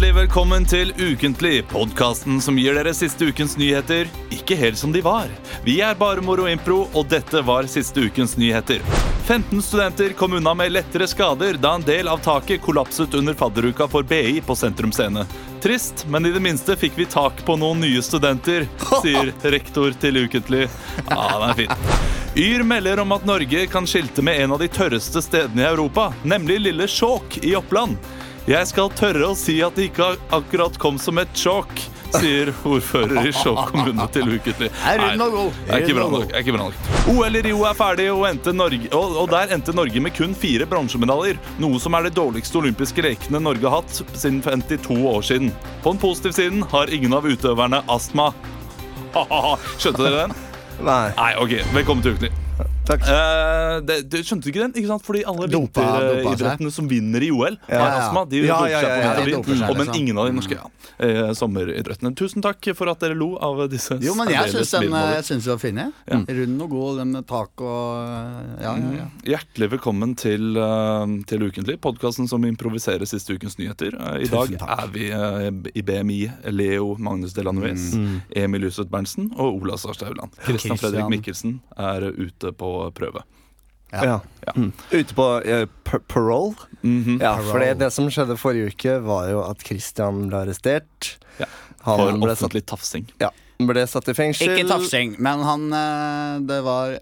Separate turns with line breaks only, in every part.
Velkommen til Ukentlig, podkasten som gir dere siste ukens nyheter ikke helt som de var. Vi er bare Moro Impro, og dette var siste ukens nyheter. 15 studenter kom unna med lettere skader da en del av taket kollapset under fadderuka for BI på Sentrum Scene. Trist, men i det minste fikk vi tak på noen nye studenter, sier rektor til Ukentlig. Ja, den er fin. Yr melder om at Norge kan skilte med en av de tørreste stedene i Europa, nemlig Lille Skjåk i Oppland. Jeg skal tørre å si at det ikke akkurat kom som et sjokk, sier ordfører i Skjåk kommune til Uketlig.
Er det noe god?
det er ikke bra nok. det Er ikke bra nok. OL i Rio er ferdig, og, endte Norge, og, og der endte Norge med kun fire bronsemedaljer. Noe som er de dårligste olympiske lekene Norge har hatt siden 52 år siden. På den positive siden har ingen av utøverne astma. Skjønte dere den?
Nei.
Nei, ok, velkommen til Ukentlig
Takk.
Eh, det, Du skjønte ikke den, ikke sant? Fordi alle
Dopa- dopa seg.
vinteridrettene som vinner i OL
Ja,
Har
ja.
astma, de
Ja,
doper
ja,
seg
ja,
på
ja,
de
vintervind
doper seg,
Og men
liksom.
ingen av de norske ja. eh, sommeridrettene Tusen takk for at dere lo av disse
Jo, men jeg
særdeles
syns den eh,
middelmådige.
jeg synes den var fin, jeg. Rund og god, den med tak og Ja, ja, ja.
Mm. Hjertelig velkommen til, eh, til Ukentlig, podkasten som improviserer siste ukens nyheter. Eh, I dag
Tusen takk.
er vi eh, i BMI Leo Magnus Delanuez,
Mm.
Emil Huseth Berntsen og Ola Sarstauland. Christian Fredrik Mikkelsen
Christian.
er ute på prøve.
Ja. Mm. Ute på eh, par- parole.
Mhm.
Ja, for det, det som skjedde forrige uke, var jo at Christian ble arrestert.
Ja. For
Han ble satt,
offentlig tafsing.
ja, ble satt i fengsel.
Ikke tafsing, men han eh, Det var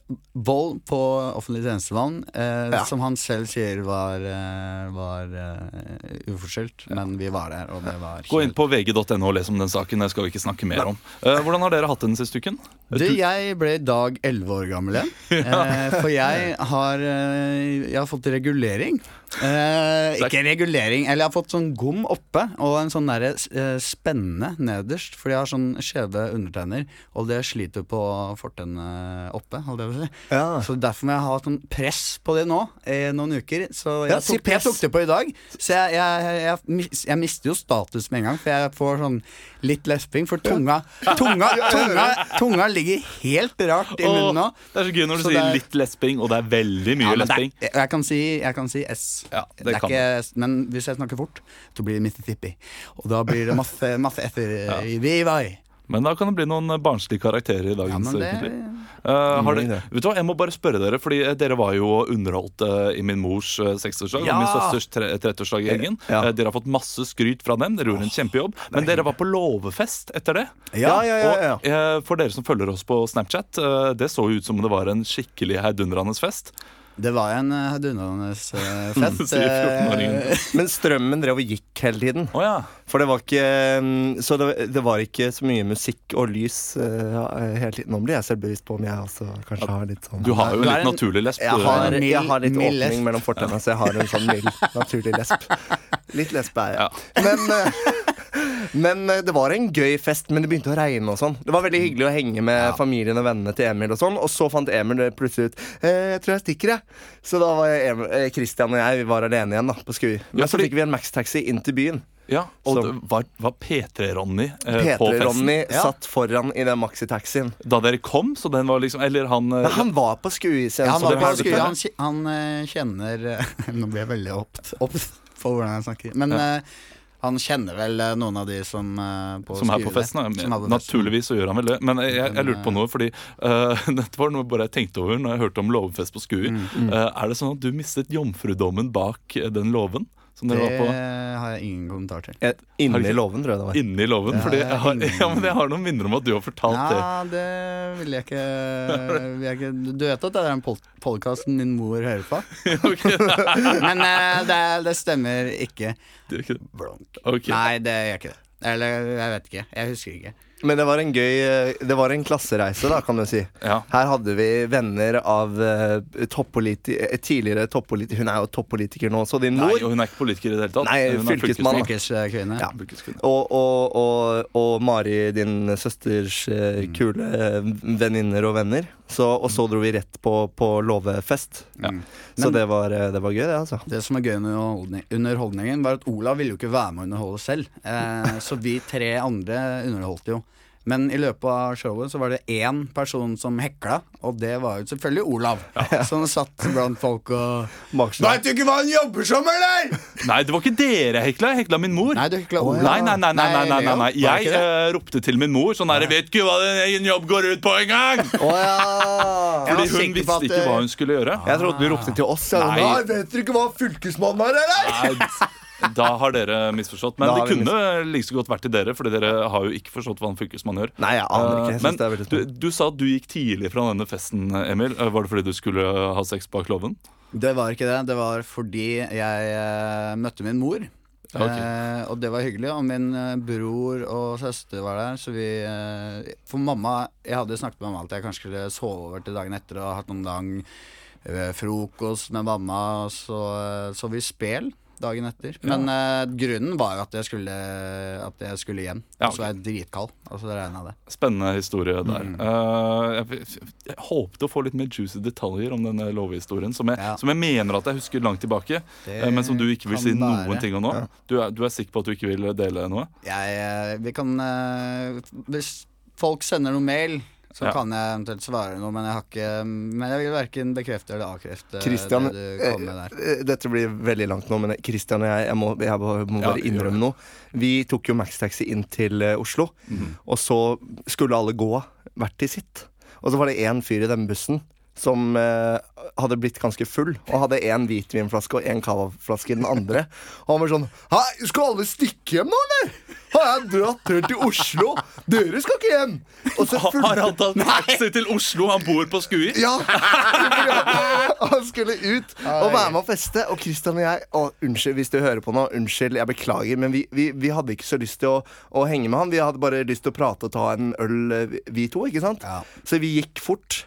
vold på offentlig tjenestemann, eh,
Ja.
som han selv sier var, eh, var eh, uforskyldt. Men vi var der, og det var
Gå inn på vg.no og les om den saken. Det skal vi ikke snakke mer om. Eh, hvordan har dere hatt den siste uken?
Du, jeg ble i dag 11 år gammel igjen. Eh, for jeg har, eh, jeg har fått regulering. Eh, ikke regulering, eller jeg har fått sånn gom oppe og en sånn derre eh, spenne nederst. For jeg har sånn skjeve undertenner, og det sliter på fortennet oppe. holdt jeg på å si.
Ja.
Så derfor må jeg ha sånn press på det nå i noen uker. Så jeg,
Ja, si
tok, jeg
press.
tok det på i dag. Så jeg, jeg, jeg, mis- jeg mister jo status med en gang, for jeg får sånn litt lesping. For tunga tunga, tunga, tunga ligger helt rart i munnen nå.
Åh, det er så gøy når du
Så det
sier
er-
litt lesping, og det er veldig mye
Ja, men det er,
lesping.
jeg, jeg, kan si, jeg kan si S.
Ja, det
er
kan
ikke S, men hvis jeg snakker fort, så blir det Mississippi. Og da blir det masse, masse S-er i Vivai.
Men da kan det bli noen eh, barnslige karakterer i
Ja,
dagens
men det
ukentlig. Eh, har
Nei,
dere,
det.
vet du hva, Jeg må bare spørre dere, fordi eh, dere var jo underholdt eh, i min mors eh, seksårsdag
Ja!
og min søsters tre- 30-årsdag i helgen.
Ja.
Eh, dere har fått masse skryt fra dem. Dere gjorde en kjempejobb. Men dere var på låvefest etter det.
Ja, ja, ja, ja.
Og eh, for dere som følger oss på Snapchat, eh, det så jo ut som om det var en skikkelig heidundrende fest.
Det var en eh, heidundrende eh,
Sier
fest.
14-åringen.
eh,
Men strømmen drev og gikk hele tiden.
Å ja.
For det var ikke mm, Så det, det var ikke så mye musikk og lys eh, hele tiden. Nå blir jeg selvbevisst på om jeg også kanskje har litt sånn
Du har jo en
Du er
litt
en-
naturlig eh, lesb.
Jeg har,
en mild-
jeg har litt
mild
åpning
lesp.
mellom fortennene, så jeg har en sånn mild, naturlig lesp. Litt lesp er jeg.
Ja.
Men, eh, men eh, det var en gøy fest, men det begynte å regne og sånn. Det var veldig hyggelig å henge med familien og vennene til Emil og sånn, og så fant Emil det plutselig ut eh, Jeg tror jeg stikker, jeg. Så da var jeg Emil, eh, Christian og jeg vi var alene igjen da, på Skui. Men
Ja,
så
fordi-
fikk vi en maxtaxi inn til byen.
Ja, og
Så-
det var, var P3-Ronny eh, på festen
P3-Ronny
Ja.
satt foran i den maxitaxien.
da dere kom? Så den var liksom, eller han, eh,
Men han var på Skui. så-
Ja, han,
så
var
det
på,
var-
skru- han, kje- han eh, kjenner eh, Nå blir jeg veldig opptatt opp på hvordan jeg snakker. Men eh, han kjenner vel eh, noen av de som eh, på
som er på
skruet.
festen. ja.
Som er på festen.
Naturligvis så gjør han vel det. Men jeg, jeg, jeg lurte på noe, fordi eh, dette var noe bare jeg tenkte over når jeg hørte om låvefest på Skui. Eh, er det sånn at du mistet jomfrudommen bak eh, den låven som dere
Det
var på?
har jeg ingen kommentar til.
Eh,
Har
Inne
du-
i låven, tror jeg det var.
Inni låven?
Ja,
fordi jeg har,
inni-
ja, men jeg har noen minner om at du har fortalt det.
Ja, det vil jeg ikke, vil jeg ikke Du vet at det er den podkasten din mor hører på? Men eh, det, det stemmer ikke.
Det er ikke-
Blunk.
Ok.
Nei, det gjør ikke det. Eller jeg vet ikke. Jeg husker ikke.
Men det var en gøy eh, Det var en klassereise, da, kan du si.
Ja.
Her hadde vi venner av eh, toppoliti eh, tidligere toppolitiker Hun er jo toppolitiker nå også, din
Nei,
mor.
og hun er ikke politiker i det hele tatt.
Nei,
Hun er
fylkesmann.
Yrkeskvinne.
Ja.
fylkesmann.
og, og, og, og Mari, din søsters eh,
Mm.
kule eh, venninner og venner. Så, og så dro vi rett på, på låvefest. Så det var, eh, det var gøy, det, altså.
Det som var gøy med underholdning- underholdningen, var at Olav ville jo ikke være med å underholde selv. Eh, så vi tre andre underholdt jo. Men i løpet av showet så var det én person som hekla, og det var jo selvfølgelig Olav. Som satt blant folk og
Maksjøen.
du ikke hva han jobber som, eller?!
Nei, det var ikke dere jeg hekla. Jeg hekla min mor.
Nei, du hekla
Nei,
Olav.
nei, nei, nei, nei, nei, nei, nei.
Leo, var det
Jeg
ikke det?
eh, ropte til min mor sånn her, jeg vet ikke hva din egen jobb går ut på engang!
Å ja.
Jeg var
Fordi hun
sikker på
visste
at,
ikke hva
eh,
hun skulle gjøre.
Jeg trodde du ropte til oss. Ja.
Nei.
Nei, vet dere ikke hva fylkesmannen er, eller?
Nei, Da har dere misforstått. Men
Da har
det
vi
kunne like så godt vært til dere, Fordi dere har jo ikke forstått hva en fylkesmann gjør.
Nei, jeg aner ikke. Jeg
Eh,
synes det er veldig
Men du, du sa at du gikk tidlig fra denne festen, Emil. Eh, Var det fordi du skulle ha sex bak låven?
Det var ikke det. Det var fordi jeg eh, møtte min mor.
Ok.
Eh, og det var hyggelig. Og min eh, bror og søster var der. Så vi eh, For mamma Jeg hadde snakket med mamma at jeg kanskje skulle sove over til dagen etter og ha hatt noen lang eh, frokost med mamma. Og så eh, så vi spel dagen etter. Men eh, grunnen var jo at jeg skulle, at jeg skulle hjem.
Ja,
Og så var jeg dritkald. Og så regna det.
Spennende historie der.
Mm.
Eh, jeg, jeg håpte å få litt mer juicy detaljer om denne låvehistorien, som, jeg-
Ja.
som jeg mener at jeg husker langt tilbake, eh, men som du ikke vil
kan
si noen
være.
ting om nå. Du, er, du er sikker på at du ikke vil dele noe?
Jeg, eh, vi kan eh, Hvis folk sender noe mail, så
Ja.
kan jeg eventuelt svare noe, men jeg har ikke Men jeg vil verken bekrefte eller avkrefte
Christian,
eh, det du kom med der.
eh, dette blir veldig langt nå, men Christian og jeg, jeg må, jeg må, må
Ja,
bare
gjør det.
innrømme noe. Vi tok jo Maxtaxi inn til eh, Oslo,
Mhm.
og så skulle alle gå hvert til sitt. Og så var det én fyr i den bussen som eh, hadde blitt ganske full, og hadde én hvitvinflaske og én cavaflaske i den andre. Og han var sånn Hei, skal alle stikke hjem nå, eller? Har jeg dratt her til Oslo? Dere skal ikke hjem! Og så
Ha- Har
fulgte-
han tatt taxi til Oslo? Han bor på Skui?
ja! Han skulle ut og være med og feste. Og Christian og jeg å, Unnskyld hvis du hører på nå. Unnskyld, jeg beklager. Men vi, vi, vi hadde ikke så lyst til å, å henge med han. Vi hadde bare lyst til å prate og ta en øl, eh, vi- vi to. ikke sant?
Ja.
Så vi gikk fort.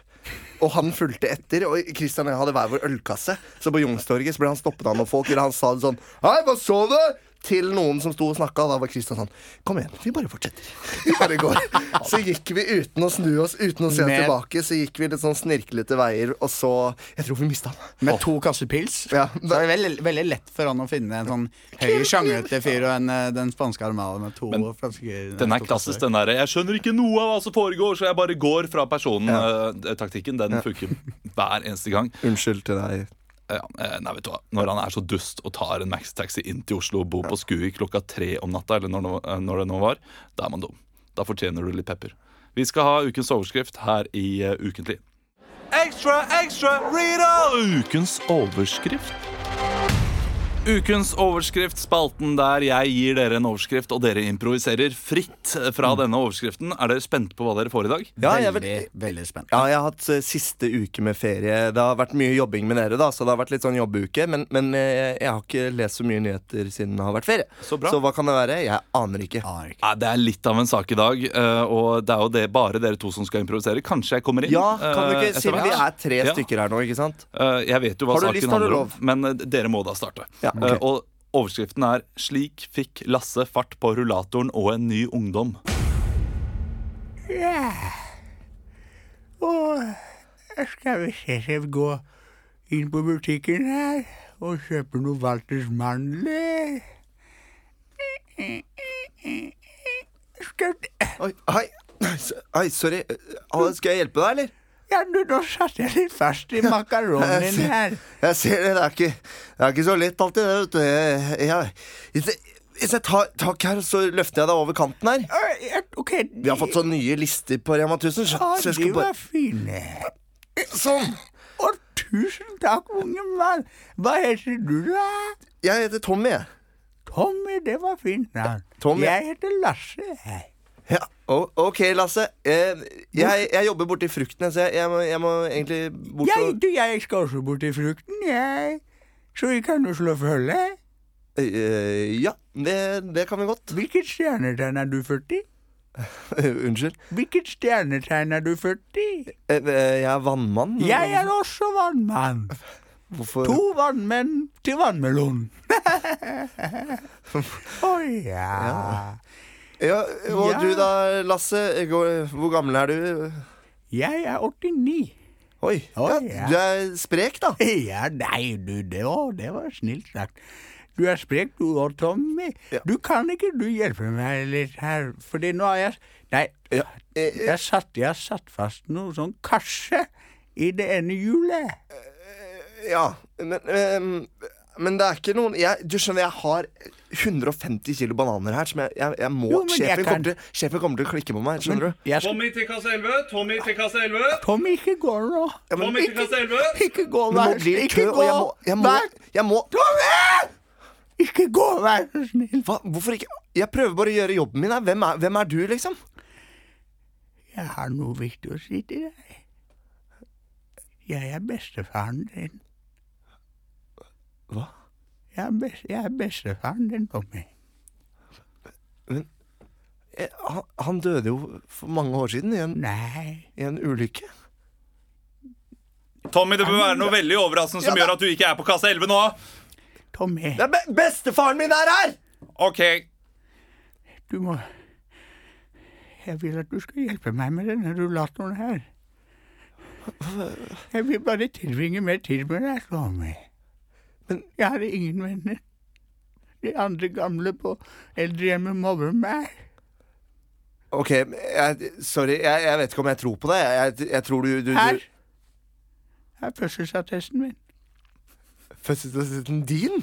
Og han fulgte etter, og Christian og jeg hadde hver vår ølkasse. Så på Youngstorget så ble han stoppet av noen folk, eller han sa det sånn Hei, hva så du? Til noen som sto og snakka, og da var Christian sånn Kom igjen, vi bare fortsetter. Vi bare går. Så gikk vi uten å snu oss, uten å se
Med-
tilbake, så gikk vi litt sånn snirklete veier, og så Jeg tror vi mista han.
Med to kasser pils.
Ja.
Så er det veldig, veldig lett for han å finne en sånn høy, sjanglete fyr og en, eh, den spanske armada med to flasker.
Den er
to
klassisk,
kasser.
den derre 'jeg skjønner ikke noe av hva som foregår', så jeg bare går fra personen-taktikken. Den funker hver eneste gang.
Unnskyld til deg.
Ja, eh, nei, vet du hva Når han er så dust og tar en maxtaxi inn til Oslo og bor på Skui klokka tre om natta, eller når, nå- eh, når det nå var, da er man dum. Da fortjener du litt pepper. Vi skal ha ukens overskrift her i eh, Ukentlig. Ekstra, ekstra, Rita! Ukens overskrift. Ukens overskrift, spalten der jeg gir dere en overskrift, og dere improviserer fritt fra denne overskriften. Er dere spente på hva dere får i dag?
Ja, jeg
veldig, veldig spent.
Ja, jeg har hatt eh, siste uke med ferie. Det har vært mye jobbing med dere, da, så det har vært litt sånn jobbuke. Men, men eh, jeg har ikke lest så mye nyheter siden det har vært ferie.
Så bra. Ah,
hva kan det være? Jeg aner ikke.
Aner ikke.
Ja, det er litt av en sak i dag, eh, og det er jo det, bare dere to som skal improvisere. Kanskje jeg kommer inn.
Ja, kan du
eh,
ikke,
etter
siden
hvert?
vi er tre
Ja.
stykker her nå, ikke sant?
Eh, Jeg vet jo hva
Har du
saken
lyst, har du
handler om,
lov?
men eh, dere må da starte.
Ja, ok.
Eh, Og overskriften er 'Slik fikk Lasse fart på rullatoren og en ny ungdom'.
Og jeg skal vi se om jeg går inn på butikken her og kjøper noen Walters mandler. Skal
Oi, hei. Oi, sorry. Ah, Skal jeg hjelpe deg, eller?
Ja, du, nå satte jeg litt fast i makaronien her.
Jeg ser det. Det er ikke, det er ikke så lett alltid, det, vet du. Jeg, jeg, hvis jeg, hvis jeg tar tak her, så løfter jeg deg over kanten her.
Å, ja, Ok,
Vi har fått sånne nye lister på Rema 1000. Så, så
ja,
jeg
de
skal
var
bare
fine.
Sånn!
Og tusen takk, unge mann. Hva heter du, da?
Jeg heter Tommy, jeg.
Tommy, det var fint navn.
Tommy.
Jeg heter Lasse. Hei.
Ja. o- ok, Lasse. Eh, jeg, jeg jobber borti fruktene, så jeg, jeg, må, jeg må egentlig bort
Jeg,
og
du, jeg skal også bort til frukten, jeg. Så vi kan jo slå følge.
Eh, Ja, det, det kan vi godt.
Hvilket stjernetegn er du født i?
Unnskyld.
Hvilket stjernetegn er du født i?
Eh, eh, jeg er vannmann.
Jeg er også vannmann.
Hvorfor?
To vannmenn til vannmelon. Å ja.
Ja, og
Ja.
du da, Lasse? Går, hvor gammel er du?
Jeg er 89.
Oi. Ja,
Oi, ja.
du er sprek, da.
Ja, nei, du, det var, det var snilt sagt. Du er sprek, du òg, Tommy.
Ja.
Du kan ikke du hjelpe meg litt her? Fordi nå har jeg Nei,
Ja. Eh,
jeg satt, jeg satt fast noe sånn karse i det ene hjulet.
ja. Men, ehm, men det er ikke noen jeg, Du skjønner, jeg har 150 kilo bananer her som jeg, jeg, jeg må
Jo, men jeg
sjefen,
kan-
kommer til, sjefen kommer til å klikke på meg. Skjønner du?
Jeg skal,
Tommy til kasse 11, Tommy til kasse 11.
Tommy, ikke gå nå.
Ja, men,
Tommy til kasse 11.
Ikke gå,
nå
vær
blir det
Ikke
kø, og jeg må, jeg må,
vær-
jeg må
Ikke gå, vær så snill.
Hva? Hvorfor ikke? Jeg prøver bare å gjøre jobben min her. Hvem er, hvem er du, liksom?
Jeg har noe viktig å si til deg. Jeg er bestefaren din.
Hva?
Jeg er, best, jeg er bestefaren din, Tommy.
Eh, Han, han døde jo for mange år siden i en,
Nei.
i en ulykke.
Tommy, det bør være noe veldig overraskende som gjør at du ikke er på kasse 11 nå.
Tommy,
Det er be bestefaren min er her!
Ok.
du må Jeg vil at du skal hjelpe meg med denne rullatoren her. Jeg vil bare tilbringe mer tid med deg, Tommy.
Men-
jeg har ingen venner. De andre gamle på eldrehjemmet mobber meg.
Ok, jeg, sorry. Jeg, jeg vet ikke om jeg tror på deg. Jeg, jeg, jeg tror du, du,
Her
du
er fødselsattesten min.
Fødselsattesten din?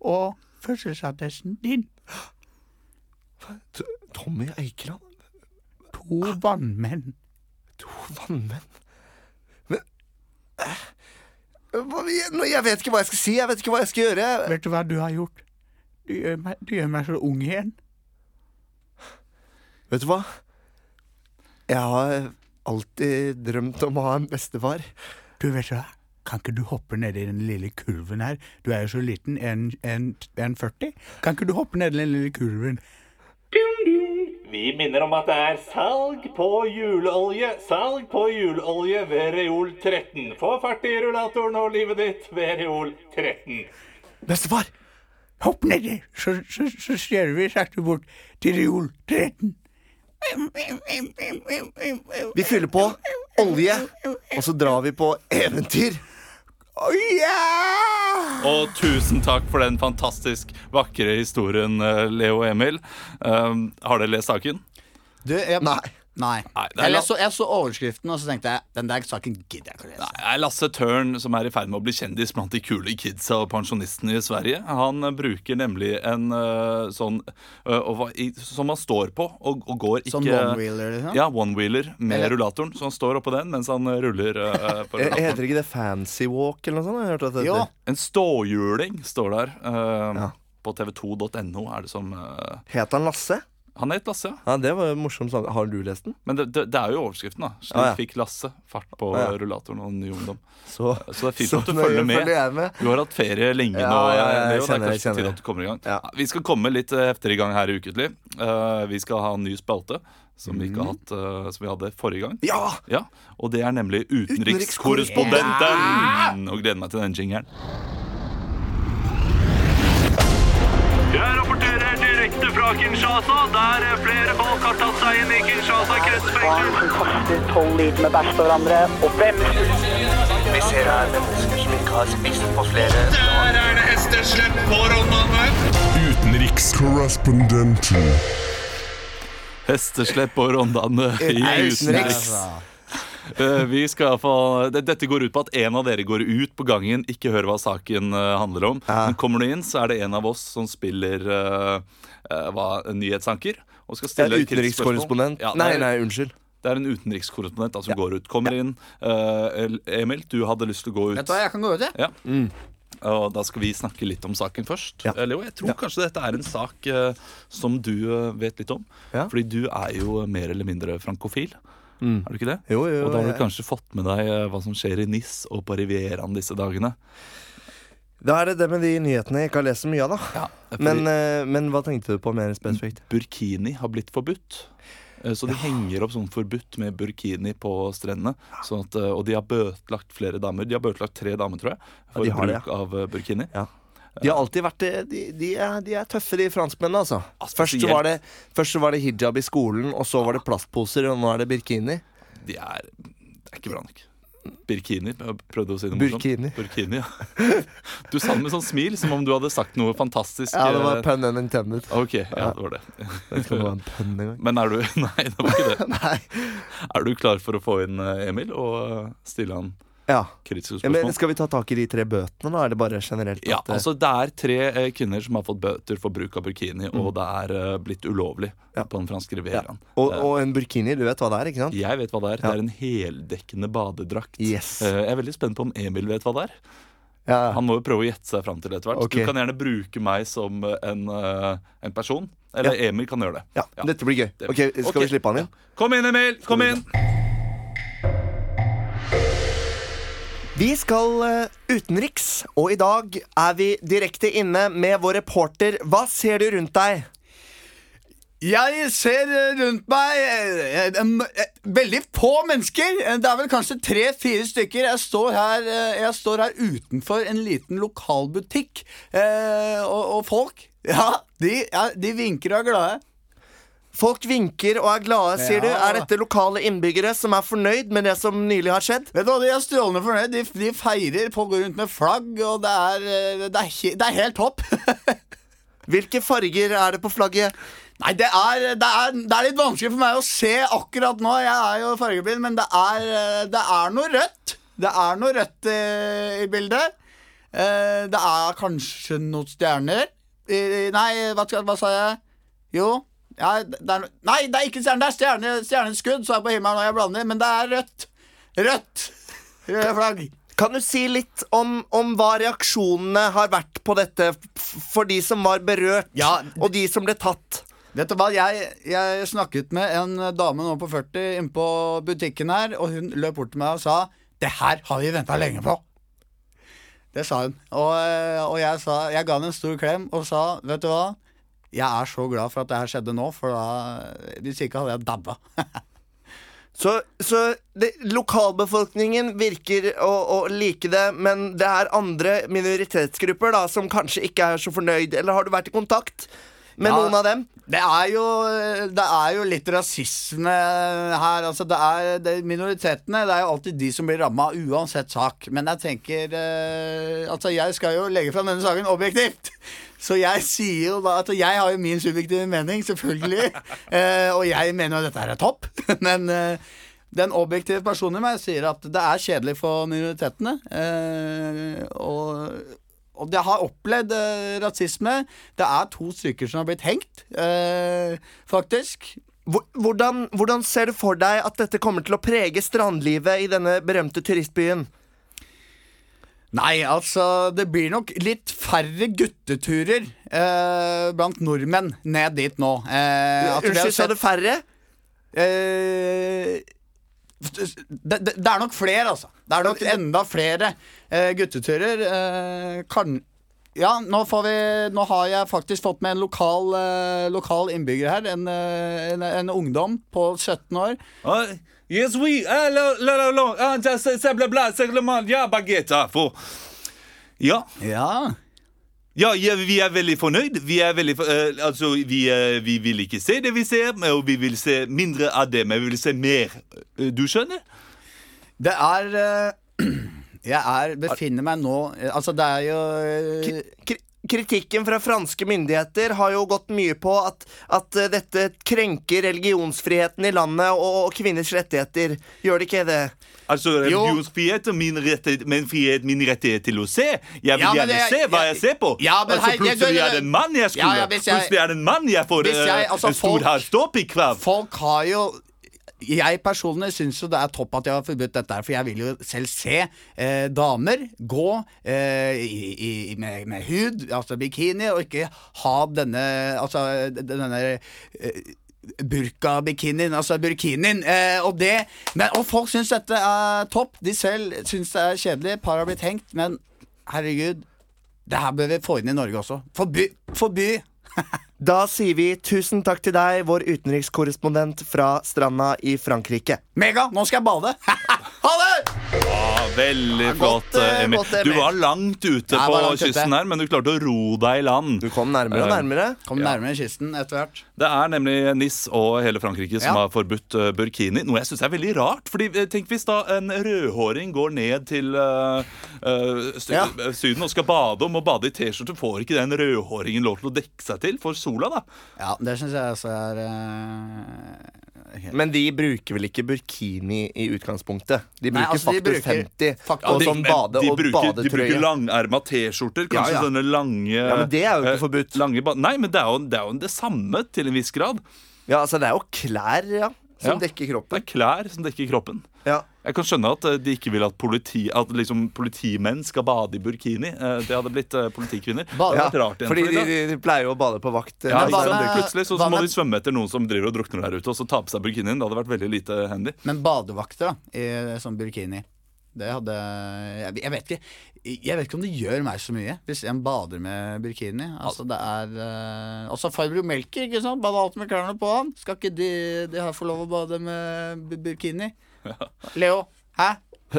Og fødselsattesten din.
T Tommy Eikeland?
To
Ah.
vannmenn.
To vannmenn? Men eh, hva, jeg, nå- jeg vet ikke hva jeg skal si. Jeg vet ikke hva jeg skal gjøre.
Vet du hva du har gjort? Du gjør meg, du gjør meg så ung igjen.
Vet du hva? Jeg har alltid drømt om å ha en bestefar.
Du vet du hva? Kan ikke du hoppe ned i den lille kurven her? Du er jo så liten, 1,40. Kan ikke du hoppe ned i den lille kurven?
Vi minner om at det er salg på juleolje. Salg på juleolje ved Reol 13. Få fart i rullatoren og livet ditt ved Reol 13.
Bestefar!
Hopp nedi, så, så, så ser vi sakte bort til reol 13.
Vi fyller på olje, og så drar vi på eventyr.
Å ja!
Og tusen takk for den fantastisk vakre historien, eh, Leo og Emil. Um, har dere lest saken?
Du, jeg,
Nei.
Nei.
Nei, det er
Eller
la-
jeg så, jeg så overskriften, og så tenkte jeg den der saken gidder jeg ikke å lese.
Det er Lasse Tørn som er i ferd med å bli kjendis blant de kule kidsa og pensjonistene i Sverige. Han eh, bruker nemlig en eh, sånn eh, og hva- i- som han står på og, og går ikke
Sånn one-wheeler, liksom?
Ja, one-wheeler med
Eller-
rullatoren. Så han står oppå den mens han eh, ruller eh, på
Eh,
rullatoren.
Heter ikke det fancy walk eller noe sånt? Jeg har hørt at det
Jo.
heter.
En ståhjuling står der. eh,
Ja.
På tv2.no er det som eh,
Het han Lasse?
Han het Lasse, ja.
Ja, det var jo en morsom sak. Har du lest den?
Men det, det, det er jo overskriften, da. Slik
Ja, ja.
fikk Lasse fart på
Ja, ja.
eh, rullatoren og ny ungdom.
Så,
Så det er fint
så
at du
nøye
følger med.
følger jeg med.
Du har hatt ferie lenge
Ja,
nå. eh,
ja, ja, jeg
Leo. det er kanskje på
kjenner det, kjenner
tide
det.
at du kommer i gang.
Ja.
Vi skal komme litt eh, heftigere i gang her i Uketliv. Eh, vi skal ha en ny spalte som vi ikke har hatt eh, Som vi hadde forrige gang.
Mm. Ja!
Ja, Og det er nemlig Utenrikskorrespondenten! Og gleder meg til den jingeren.
Jeg rapporterer direkte fra Kinshasa, Altså, der eh, flere folk har tatt seg inn i Kinshasa kretsfengsel.
barn som kaster tolv liter med bæsj på hverandre, og hvem
Vi ser her mennesker som ikke har spist på flere
Der er det hesteslepp på Rondane.
Utenrikskorrespondenten.
Hesteslepp og rondane i utenriks. Eh, Vi skal i hvert fall det- Dette går ut på at en av dere går ut på gangen, ikke hører hva saken eh, handler om. Men kommer du inn, så er det en av oss som spiller eh, eh, hva, nyhetsanker. Og skal
Det er
stille kritiske spørsmål.
utenrikskorrespondent.
Ja, det
Nei,
er-
nei, unnskyld.
Det er en utenrikskorrespondent da, som går ut. Kommer inn. Eh, Emil, du hadde lyst til å gå ut.
Vet du hva, jeg kan gå ut, jeg.
Ja. Og da skal vi snakke litt om saken først.
Ja.
Eh, Leo, jeg tror kanskje dette er en sak eh, som du eh, vet litt om.
Ja. Mm.
Fordi du er jo mer eller mindre frankofil. Er du ikke det?
Jo, jo,
og da har
jeg-
du kanskje fått med deg eh, hva som skjer i NIS og på Rivieraen disse dagene.
Da er det det med de nyhetene jeg ikke har lest så mye av, da.
Fordi
Men, eh, men hva tenkte du på mer spesifikt?
burkini har blitt forbudt. Eh, Så de henger opp sånn forbudt med burkini på strendene. Sånn at, eh, og de har bøtelagt flere damer. De har bøtelagt tre damer, tror jeg, for
de har
bruk
det,
av eh, burkini.
Mm. De har alltid vært eh, De, de, er, de er tøffe, de franskmennene, altså.
Ja,
Først så,
spesielt.
var det, først så var det hijab i skolen, og så var det plastposer, og nå er det birkini.
De er, det er ikke bra nok. Birkini. Jeg prøvde å si det
Burkini.
Burkini, ja. Du sa det med sånn smil, som om du hadde sagt noe fantastisk.
Ja, det
eh,
var pun and intended.
Ok, ja, det var det.
Det kan være en pun en gang.
Men er du Nei, det var ikke det.
Nei.
Er du klar for å få inn eh, Emil og eh, stille han
Ja.
kritiske
ja men
spørsmål?
skal vi ta tak i de tre bøtene, da? Er det bare generelt?
Ja,
eh,
altså Det er tre eh, kvinner som har fått bøter for bruk av burkini, og det er eh, blitt ulovlig
Mm. Ja.
på den franske
ja.
rivieraen.
og,
Eh,
og en burkini, du vet hva det er, ikke sant?
Jeg vet hva det er.
Ja.
Det er en heldekkende badedrakt.
Yes.
Eh, Jeg er veldig spent på om Emil vet hva det er.
Ja.
Han må jo prøve å gjette seg fram til etter hvert.
Ok.
Du kan gjerne bruke meg som eh, en, eh, en person. Eller Emil kan gjøre det.
Ja,
Ja.
Dette blir gøy.
Det-
Ok, Skal
Ok.
vi slippe han inn?
Kom inn, Emil! Kom inn!
Vi skal eh, utenriks, og i dag er vi direkte inne med vår reporter. Hva ser du rundt deg?
Jeg ser eh, rundt meg eh, eh, em, eh, veldig få mennesker. Eh, Det er vel kanskje tre-fire stykker. Jeg står, her, eh, jeg står her utenfor en liten lokalbutikk, eh, og, og folk Ja, de, ja, de vinker og er glade.
Folk vinker og er glade, sier du.
Ja.
Er dette lokale innbyggere som er fornøyd med det som nylig har skjedd?
Vet du hva, De er strålende fornøyd. De, de feirer. Folk går rundt med flagg, og det er, eh, det er, he, det er helt topp.
Hvilke farger er det på flagget?
Nei, det er, det, er, det er litt vanskelig for meg å se akkurat nå. Jeg er jo fargeblind, men det er, eh, det er noe rødt. Det er noe rødt eh, i bildet. Eh, det er kanskje noen stjerner. Eh, nei, hva, skal- hva sa jeg? Jo ja, det er, no- Nei, det er ikke stjerner. Det er stjerne, stjerneskudd som er på himmelen når jeg blander, men det er rødt. Rødt! Røde flagg.
Kan du si litt om, om hva reaksjonene har vært på dette f- for de som var berørt,
Ja.
og de som ble tatt?
Vet du hva, jeg, jeg snakket med en dame nå på 40 inne på butikken her, og hun løp bort til meg og sa Det her har vi venta lenge på. Det sa hun. Og, eh, og jeg, sa, jeg ga henne en stor klem og sa, vet du hva, jeg er så glad for at det her skjedde nå, for da, hvis ikke hadde jeg dabba.
Så, så det, lokalbefolkningen virker å, å like det, men det er andre minoritetsgrupper da, som kanskje ikke er så fornøyd, eller har du vært i kontakt med
Ja.
noen av dem?
Det er jo, det er jo litt rasisme her. Altså det er, det er minoritetene det er jo alltid de som blir ramma, uansett sak. Men jeg tenker eh, Altså, jeg skal jo legge fram denne saken objektivt. Så jeg sier jo da at jeg har jo min subjektive mening, selvfølgelig. Eh, og jeg mener jo dette her er topp. Men eh, den objektive personen i meg sier at det er kjedelig for minoritetene. eh, og og jeg har opplevd eh, rasisme. Det er to stykker som har blitt hengt, eh, faktisk.
Hvor- Hvordan, hvordan ser du for deg at dette kommer til å prege strandlivet i denne berømte turistbyen?
Nei, altså, det blir nok litt færre gutteturer eh, blant nordmenn ned dit nå. Eh, altså, vi har
Unnskyld, sa
sett-
du færre?
Eh, det, det, det er nok flere, altså. Det er nok enda flere eh, gutteturer. Eh, kan Ja, nå, får vi, nå har jeg faktisk fått med en lokal, eh, lokal innbygger her. En, eh, en, en ungdom på 17 år.
Ah, yes, oui. Ah, la, la, la, la. Ah, ja, se- se, bla, bla, se, bla, bla. Ja, baguette. ah, for- Ja.
Ja
Ja, ja, vi er veldig fornøyd. Vi, er veldig, for- eh, altså, vi, eh, vi vil ikke se det vi ser, men- og vi vil se mindre av det, men vi vil se mer. Eh, Du skjønner?
Det er eh, Jeg er, befinner meg nå eh, Altså, det er jo eh,
Kri- Kritikken fra franske myndigheter har jo gått mye på at, at eh, dette krenker religionsfriheten i landet og, og kvinners rettigheter. Gjør det ikke det?
Altså,
Jo.
religionsfrihet og min, rett, men frihet, min rettighet til å se. Jeg vil
Ja,
gjerne
men det-
se hva
jeg-
jeg ser på.
Ja, men
altså,
hei, jeg-
plutselig
jeg-
er det en mann jeg skulle.
Ja, ja, hvis jeg-
plutselig er det en mann jeg får
Hvis jeg-
eh,
altså,
en stor
folk-
her ståpikkrav.
Folk har jo jeg personlig syns jo det er topp at jeg har forbudt dette, her, for jeg vil jo selv se eh, damer gå eh, i, i, i- med, med hud, altså bikini, og ikke ha denne Altså denne eh, burka-bikinien, altså burkinien. Eh, og det men, Og folk syns dette er topp. De selv syns det er kjedelig. Par har blitt hengt, men herregud, det her bør vi få inn i Norge også. Forby! Forby!
Da sier vi tusen takk til deg, vår utenrikskorrespondent fra stranda i Frankrike.
Mega! Nå skal jeg bade!
Ha det!
Ja, veldig flott,
godt, eh,
Emil.
godt, Emil.
Du var langt ute
Jeg
på
var langt ute.
kysten her, men du klarte å ro deg i land.
Du kom nærmere og
Eh,
nærmere.
Kom nærmere kysten etter hvert.
Det er nemlig NIS og hele Frankrike som
Ja.
har forbudt eh, burkini. Noe jeg syns er veldig rart. Fordi eh, Tenk hvis da en rødhåring går ned til eh, eh, sy-
Ja.
eh, Syden og skal bade og må bade i T-skjorte. Får ikke den rødhåringen lov til å dekke seg til for sola, da?
Ja, det syns jeg også er eh, helt-
Men de bruker vel ikke burkini i utgangspunktet? De bruker
Nei, altså, de
faktor
bruker-
50
faktor-
og
de,
sånn bade-
de
og
bruker, de bruker
badetrøye.
langerma T-skjorter. Kanskje
Ja, ja.
sånne lange
Ja, men det er jo ikke
eh,
forbudt.
Lange ba Nei, men det er, jo, det er jo det samme til en viss grad.
Ja, altså, det er jo klær ja, som
Ja.
dekker
Det
kroppen.
er klær som dekker kroppen.
Ja.
Jeg kan skjønne at eh, de ikke vil at, politi, at liksom politimenn skal bade i burkini. Eh, Det hadde blitt eh, politikvinner. Det hadde
Ja,
vært rart igjen
fordi
for
de,
dem, da.
de, de pleier jo å bade på vakt. eh,
Ja,
når
ikke
hva
de er
sant?
med-
døde.
Plutselig så,
hva
må
med-
de svømme etter noen som driver og drukner der ute, og så ta på seg burkinien. Det hadde vært veldig lite handy.
Men badevakter, da, i sånn burkini Det hadde jeg, jeg vet ikke Jeg vet ikke om det gjør meg så mye hvis en bader med burkini. Altså det er eh, Og så fibromelker, ikke sant? Bada alt med klærne på han. Skal ikke de, de her få lov å bade med bu- burkini? Leo, hæ?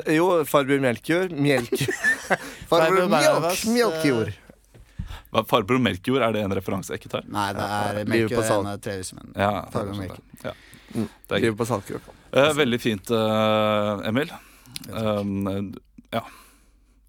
Jo, farbror Melkjord. Melk...
Farbror
farbror
Melvas,
Mjølk, Mjølkjord.
Hva, Farbror Melkjord, er det en referanse jeg ikke tar?
Nei, det er
Livet på
Melker
salt.
en av tre vise menn.
Ja,
Farbror
sånn,
Melkjord.
ja. Det er
Driver
greit.
på saltkropp.
Eh, Veldig fint, eh, Emil. Um, ja.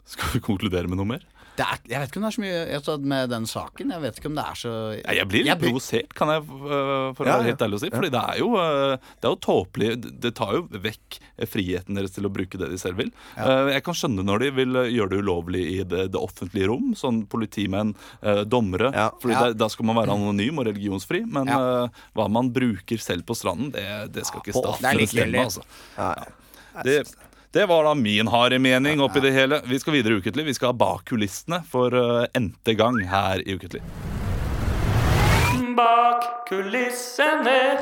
Skal vi konkludere med noe mer?
Det er, jeg vet ikke om det er så mye altså, med den saken. Jeg vet ikke om det er så
Ja, jeg blir litt
blir-
provosert, kan jeg, øh, for å
Ja,
være
ja.
helt ærlig å si. Fordi det er jo, øh, det er jo tåpelig. Det tar jo vekk eh, friheten deres til å bruke det de selv vil. Eh, Jeg kan skjønne når de vil øh, gjøre det ulovlig i det, det offentlige rom, sånn politimenn, eh, dommere.
Ja.
Fordi
Ja.
Da, da skal man være anonym og religionsfri. Men
Ja.
eh, hva man bruker selv på stranden, det, det skal ikke
på-
staten
det er
bestemme.
likegyldig.
Altså. Det, det var da min harde mening oppi det hele. Vi skal videre i Uketlig. Vi skal bak kulissene for eh, n-te gang her i Uketlig.
Bak kulissene.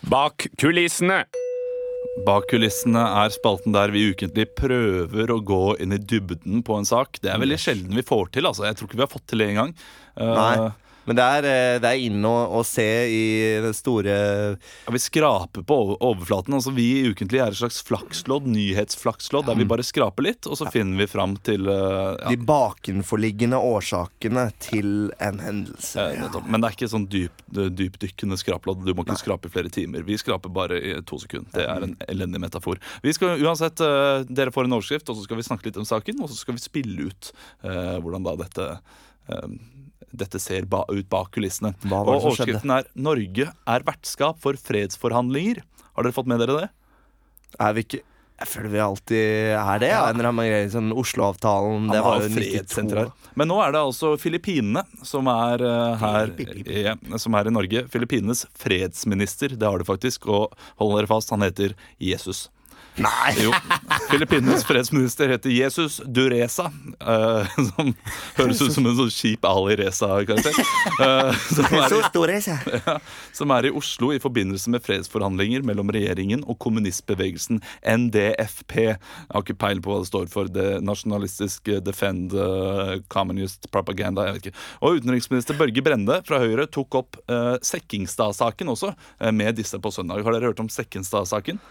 Bak kulissene.
Bak kulissene er spalten der vi ukentlig prøver å gå inn i dybden på en sak. Det er veldig sjelden vi får til. altså. Jeg tror ikke vi har fått til det engang. Uh,
Nei. Men det er, eh, det er inne å, å se i den store
Ja, vi skraper på over- overflaten. altså Vi i Ukentlig er et slags flakslodd, nyhetsflakslodd, der vi bare skraper litt, og så finner vi fram til uh, ja,
De bakenforliggende årsakene til en hendelse.
eh, nettopp. Men det er ikke sånn dyp, dypdykkende skraplodd. Du må ikke skrape i flere timer. Vi skraper bare i to sekunder. Det er en elendig metafor. Vi skal uansett, eh, Dere får en overskrift, og så skal vi snakke litt om saken, og så skal vi spille ut eh, hvordan da dette eh, dette ser ba ut bak kulissene.
Hva var det
Og
som skjedde?
overskriften er 'Norge er vertskap for fredsforhandlinger'. Har dere fått med dere det?
Er vi ikke Jeg føler vi alltid er det. Ja. En eller annen greie sånn Oslo-avtalen. Det
Han
var
har
jo 92.
fredssenter her. Men nå er det altså Filippinene som er eh, her ja, Som er i Norge. Filippinenes fredsminister, det har du faktisk. Og hold dere fast, han heter Jesus. Nei! Jo. Filippinenes fredsminister heter Jesus Dureza. eh, som høres ut som en sånn kjip Ali Reza-karakter. eh, som er i-
Så stor reise.
som er i Oslo i forbindelse med fredsforhandlinger mellom regjeringen og kommunistbevegelsen NDFP. Jeg har ikke peil på hva det står for. Det nasjonalistiske Defend eh, Communist Propaganda. jeg vet ikke. Og utenriksminister Børge Brende fra Høyre tok opp eh, Sekkingstad-saken også eh, med disse på søndag. Har dere hørt om Sekkingstad-saken?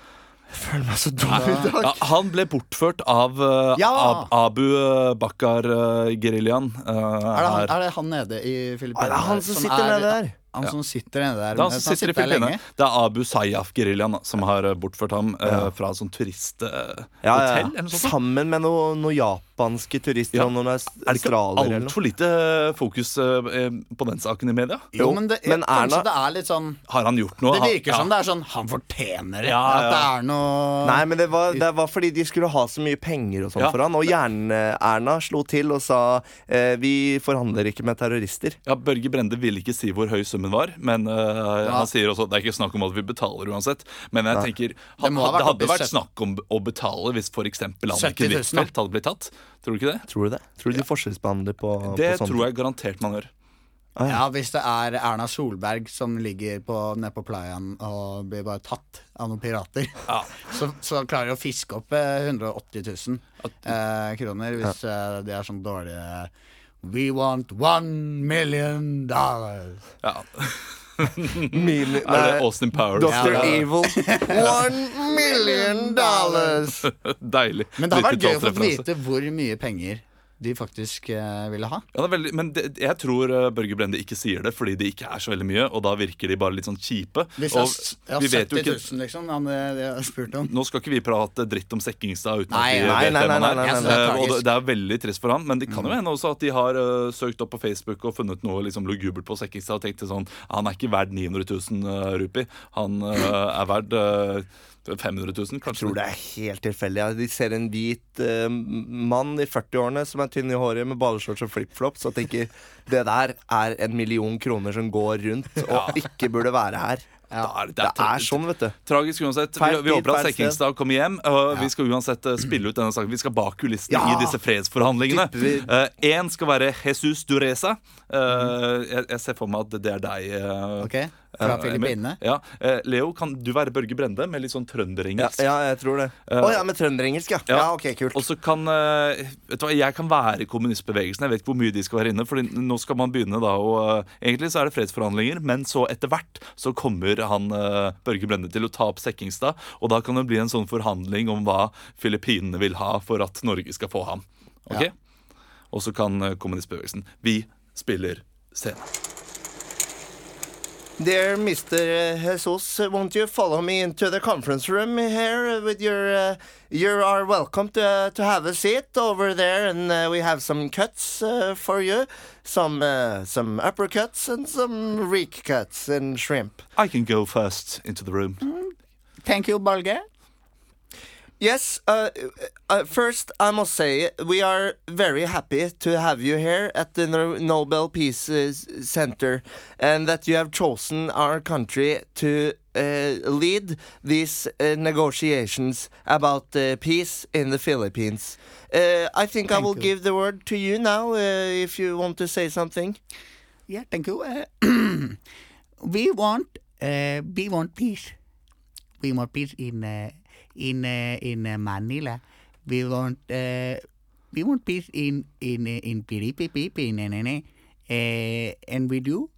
Ja, han ble bortført av eh,
Ja!
Ab Abu eh, Bakar-geriljaen.
Er det, han, er det han nede i Filippinene?
Er det han som
der,
sitter nede der?
Han som sitter nede der.
Det er
men
han
han
som sitter i
sitter der
Filippinene.
lenge.
Det er Abu Sayyaf-geriljaen da, som har eh, bortført ham eh, fra et sånt turisthotell.
Ja, ja.
eller noe sånt.
Sammen med noen noe japanske turister
Ja.
og noen
Er det ikke
australiere eller noe.
altfor lite fokus eh, eh, på den saken i media?
Jo, men, det,
men Erna-
kanskje det er litt sånn
Har han gjort noe?
Det virker
Han-
som det er sånn Han fortjener det.
Ja,
At det
ja.
er noe
Nei, men det var, det var fordi de skulle ha så mye penger og sånn
Ja.
for han. Og Jern-Erna slo til og sa eh, vi forhandler ikke med terrorister.
Ja, Børge Brende ville ikke si hvor høy summen var, men eh, han sier også at det er ikke snakk om at vi betaler uansett. Men jeg tenker han,
Det
det,
må ha vært
hadde
oppi
vært
sytt-
snakk om å betale hvis f.eks. Anniken
70 000, da.
Huitfeldt hadde blitt tatt. Tror du ikke det?
Tror du det? Tror du de forskjellsbehandler på,
Det
på sånn sånt?
tror jeg garantert man gjør.
Ja, Hvis det er Erna Solberg som ligger på, nede på playaen og blir bare tatt av noen pirater,
Ja.
så, så klarer de å fiske opp eh, 180 000 eh, kroner hvis eh, de er sånn dårlige We want one million dollars.
Ja.
Min, nei,
Er det Austin Powers?
Dr.
Ja, det er-
Evil. One million dollars!
Deilig.
Men det hadde vært gøy å få
90-tallsreferanse.
vite hvor mye penger de faktisk eh, ville ha.
Ja, det er veldig, men det, jeg tror eh, Børge Brende ikke sier det fordi det ikke er så veldig mye, og da virker de bare litt sånn kjipe.
Hvis
og
jeg har
vi
70
vet jo ikke,
000, liksom, han eh, jeg har spurt om.
nå skal ikke vi prate dritt om Sekkingstad uten
Nei,
at vi
nei,
vet
nei,
hvem han
nei,
er.
nei,
nei, nei.
Eh, og det,
Tragisk.
det er veldig trist for han, men det kan jo hende også at de har eh, søkt opp på Facebook og funnet noe liksom, lugubert på Sekkingstad og tenkt sånn Han er ikke verd 900 000 eh, rupi, han eh, er verd eh, 500 000, kanskje.
tror det er helt tilfeldig. Ja. De ser en hvit eh, mann i 40-årene som er tynn i håret med badeshorts og flipflops og tenker det der er en million kroner som går rundt og ikke burde være her.
Da er det- det
det,
er
er sånn, vet du.
Tragisk uansett. Vi,
Feil
vi håper at
tid, feil sted.
Sekkingstad kommer hjem. og Vi skal uansett eh, spille ut denne saken. Vi skal bak kulissene
Ja!
i disse fredsforhandlingene. Én skal være Jesus Dureza. Eh, jeg, jeg ser for meg at det er deg. eh,
Ok, Fra
eh,
Filippinene.
Emil. Ja. Eh, Leo, kan du være Børge Brende med litt sånn
Ja,
trønderengelsk?
ja, jeg tror det. Å ja, med trønderengelsk, ja.
Eh, Ja.
ja. Ok, kult.
Og så kan eh, vet du hva, Jeg kan være i kommunistbevegelsen. Jeg vet ikke hvor mye de skal være inne. For nå skal man begynne da å eh, Egentlig så er det fredsforhandlinger, men så etter hvert så kommer han eh, Børge Brende til å ta opp Sekkingstad. Og da kan det bli en sånn forhandling om hva Filippinene vil ha for at Norge skal få ham. Ok? Og så kan eh, kommunistbevegelsen Vi spiller scenen.
Dear Mr. Jesus, won't you follow me into the conference room here with your... Uh, you are welcome to, uh, to have a seat over there, and uh, we have some cuts uh, for you. Some, uh, some uppercuts and some reek cuts and shrimp.
I can go first into the room.
Thank you, Balge.
Yes, uh, uh, first I must say we are very happy to have you here at the No- Nobel Peace uh, S- Center and that you have chosen our country to uh, lead these uh, negotiations about uh, peace in the Philippines. Uh, I think I will give the word to you now uh, if you want to say something.
Yeah, thank you.
eh,
Uh, we want uh, we want peace. We want peace in
eh,
uh, in uh, in uh, Manila. We want uh,
eh,
we want peace in in uh, in Piripipi, nenene.
eh,
Uh, and we do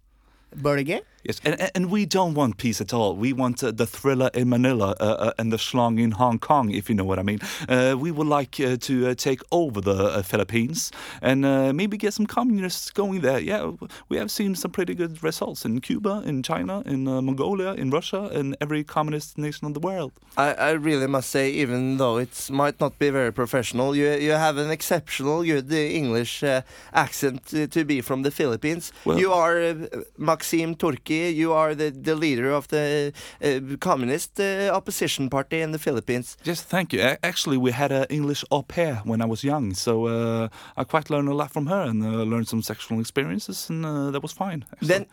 burger.
Yes, and, and- and we don't want peace at all. We want uh, the thriller in Manila uh, uh, and the schlong in Hong Kong, if you know what I mean. Uh, we would like uh, to uh, take over the uh, Philippines and uh, maybe get some communists going there. Yeah, we have seen some pretty good results in Cuba, in China, in uh, Mongolia, in Russia, in every communist nation of the world.
I, I really must say, even though it might not be very professional, you you have an exceptional good uh, English uh, accent uh, to be from the Philippines.
Well-
you are uh, Maxim Turki. You are the, the leader of the uh, communist uh, opposition party in the Philippines.
Yes, thank you. A- Actually, we had an English au pair when I was young, so uh, I quite learned a lot from her and uh, learned some sexual experiences, and uh, that was fine. actually.
Then,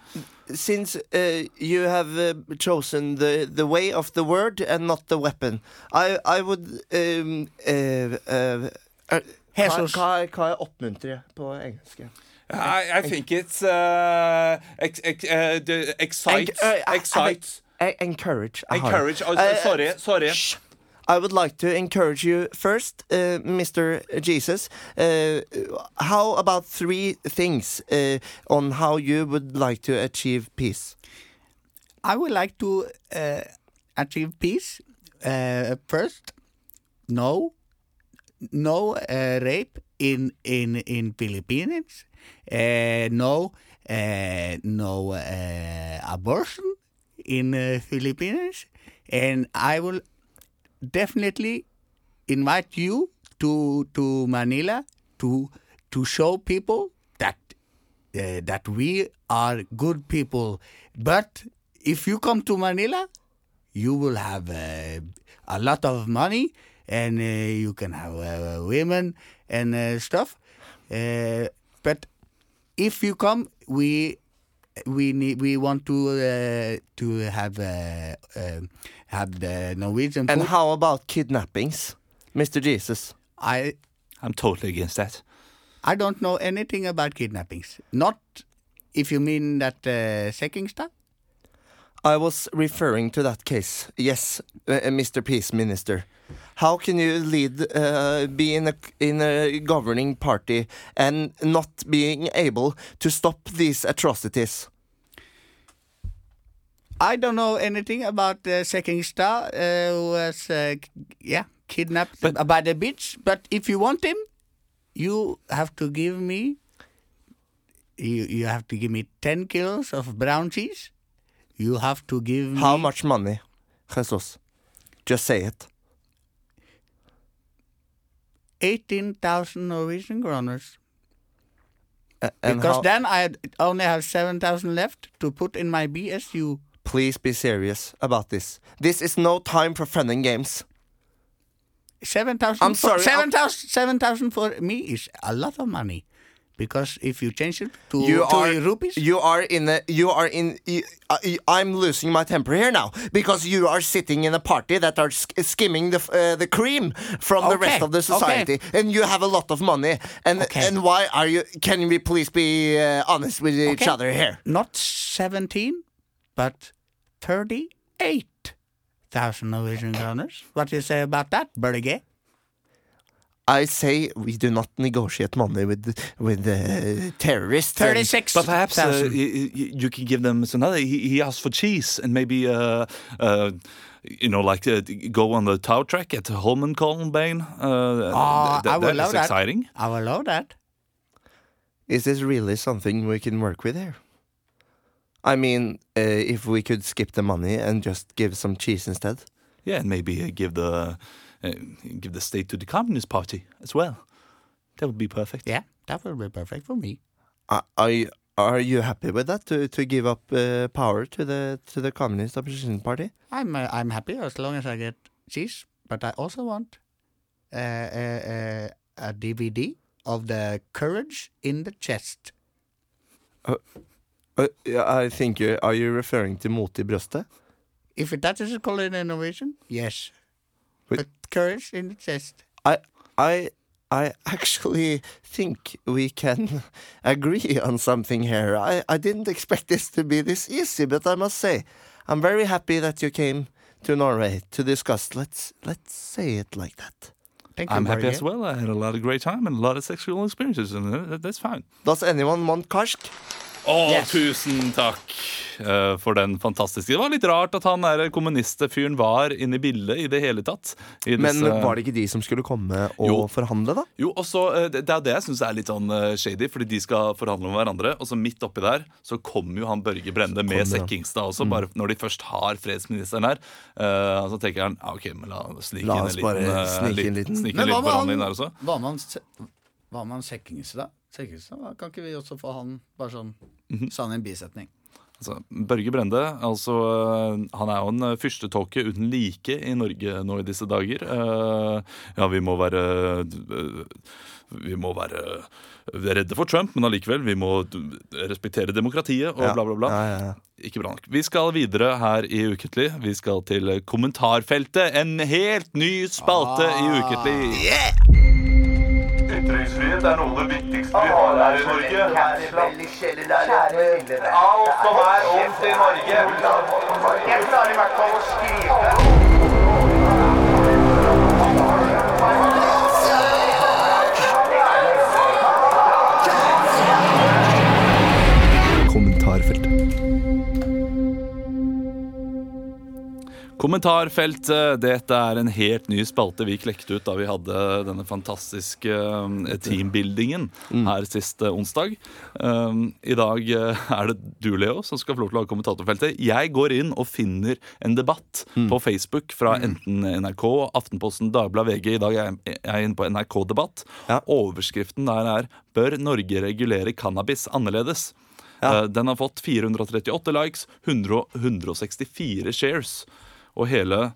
since uh, you have uh, chosen the, the way of the word and not the weapon, I, I would um, uh, uh, uh,
Jesus.
Hva, hva, hva er oppmuntre på engelsk? ja?
I, I think it's uh, ex, ex, uh, the- excites,
Enc- uh,
excites,
I- I- encourage. I har-
encourage. Oh,
Uh,
sorry, sorry.
Shh. I would like to encourage you first, uh, Mr. Jesus. Uh, how about three things uh, on how you would like to achieve peace?
I would like to uh, achieve peace. Uh, first, no, no uh, rape in in in Philippines. Uh, no, uh, no uh, abortion in uh, Philippines, and I will definitely invite you to to Manila to to show people that uh, that we are good people. But if you come to Manila, you will have uh, a lot of money and uh, you can have uh, women and uh, stuff. Uh, but if you come, we we need we want to uh, to have uh, um have the Norwegian
And
food.
how about kidnappings, Mr. Jesus?
I
I'm totally against that.
I don't know anything about kidnappings. Not if you mean that uh, Sekkingstad.
I was referring to that case. Yes, uh, uh, Mr. Peace Minister. How can you lead, uh, be in a, in a governing party and not being able to stop these atrocities?
I don't know anything about the second star uh, who was, uh, k- yeah, kidnapped
But-
by the bitch. But if you want him, you have to give me. You you have to give me ten kilos of brown cheese. You have to give me
How much money, Jesus? Just say it.
eighteen thousand Norwegian kroners.
A- and
Because
how-
then I had- only have seven thousand left to put in my BSU.
Please be serious about this. This is no time for fun and games.
Seven
I'm
thousand.
sorry,
Seven thousand. Seven thousand for me is a lot of money, because if you change it to,
You
to
are
rupees,
You are in a. You are in. You, I, I'm losing my temper here now because you are sitting in a party that are sk- skimming the f- uh, the cream from the rest
Okay,
of the society, and you have a lot of money. And
Okay.
and why are you? Can we please be uh, honest with each
Okay.
other here?
not seventeen, but thirty-eight thousand Norwegian kroners. What do you say about that, Berge?
I say we do not negotiate money with with uh, terrorists.
Thirty-six.
But perhaps uh,
thousand.
y- y- you can give them some other. He, he asked for cheese and maybe, uh, uh, you know, like uh, go on the tow track at Holmenkollenbein. Uh,
Ah,
th-
I would
that
love
is
that.
exciting.
I will allow that.
Is this really something we can work with here? I mean, uh, if we could skip the money and just give some cheese instead.
Yeah, and maybe uh, give the uh, give the state to the Communist Party as well. That would be perfect.
Yeah, that will be perfect for me.
Are- Are you, are you happy with that? To, to give up uh, power to the to the Communist Opposition Party?
I'm uh, I'm happy as long as I get cheese, but I also want uh, uh, uh, a DVD of the Courage in the Chest.
Uh, I think you are you referring to Mot i brøstet?
If that is called in innovation, yes.
But-
But courage in the chest.
I I I actually think we can agree on something here. I, I didn't expect this to be this easy, but I must say, I'm very happy that you came to Norway to discuss. Let's let's say it like that.
Thank you.
I'm happy
Børge.
as well. I had a lot of great time and a lot of sexual experiences, and uh, that's fine.
Does anyone want karsk?
Å, tusen takk eh, for den fantastiske Det var litt rart at han der kommunistfyren var inne i bildet i det hele tatt. I
Men
disse-
var det ikke de som skulle komme og
Jo.
forhandle, da?
Jo, og så, eh, Det det er det jeg syns er litt sånn eh, shady, fordi de skal forhandle med hverandre. Og så midt oppi der så kommer jo han Børge Brende med Sekkingstad
Mm.
også, bare når de først har fredsministeren her. Eh, så tenker han ja, ok, men la oss snike
La
inn en
oss
liten,
bare
eh,
snike
li-
inn liten-
snike
Men
liten
hva med
forhandling der
han-
også.
Hva med han, se- hva med han Sekkingstad? Sekkingstad? Kan ikke vi også få han bare sånn
Mhm.
sa han i en bisetning?
Altså, Børge Brende altså, øh, han er jo en øh, fyrstetåke uten like i Norge nå i disse dager. Eh, ja, vi må være øh, Vi må være eh, redde for Trump, men allikevel, vi må d- respektere demokratiet og
Ja.
bla, bla, bla.
Ja, ja, ja.
Ikke bra nok. Vi skal videre her i Ukentlig. Vi skal til eh, kommentarfeltet. En helt ny spalte i
Ah.
Ukentlig.
Ytringsfrihet er noe av det viktigste vi har her i Norge. Alt som er ondt i Norge.
Jeg klarer i hvert fall å skrive.
Kommentarfeltet.
Kommentarfeltet. Dette er en helt ny spalte vi klekte ut da vi hadde denne fantastiske um, teambuildingen her sist eh, onsdag. Um, I dag eh, er det du, Leo, som skal få lov til å lage kommentatorfeltet. Jeg går inn og finner en debatt på Facebook fra enten NRK, Aftenposten, Dagbladet, VG. I dag er jeg- jeg er inne på NRK Debatt.
Ja.
Overskriften der er 'Bør Norge regulere cannabis annerledes'? Eh, Den har fått 438 likes, 100, og 164 shares. Og hele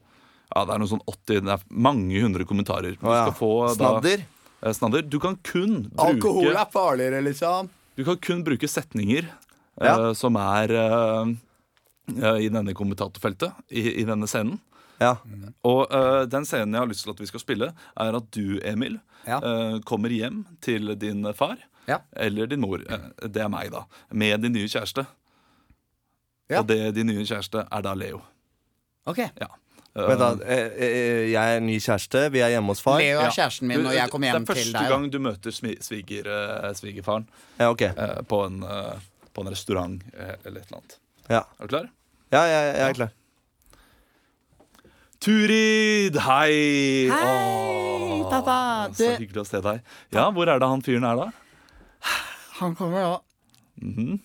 ja, Det er noe sånn 80 Det er mange hundre kommentarer. Du
Å ja.
skal få da,
Snadder?
eh, snadder. Du kan kun
Alkohol
bruke,
er farligere, liksom.
du kan kun bruke setninger eh,
Ja.
som er eh, eh, i denne kommentatorfeltet, i, i denne scenen.
Ja.
Og eh, den scenen jeg har lyst til at vi skal spille, er at du, Emil,
Ja.
eh, kommer hjem til din far
Ja.
eller din mor, eh, det er meg, da, med din nye kjæreste.
Ja.
Og det din nye kjæreste er da Leo.
Ok
Ja.
Vent,
Um.
da. eh, eh, Jeg er ny kjæreste, vi er hjemme hos far.
Leo
Ja.
er kjæresten min, og jeg kommer hjem
det er
til
første
deg. da.
gang du møter smi- sviger, eh, svigerfaren
Ja, ok.
eh, på, en, eh, på en restaurant eh, eller et eller annet.
Ja.
Er du klar?
Ja, jeg, jeg er klar.
Turid, hei!
Hei,
Åh,
pappa.
Så
Du-
hyggelig å se deg. Ja, hvor er det han fyren er, da?
Han kommer da.
Mhm.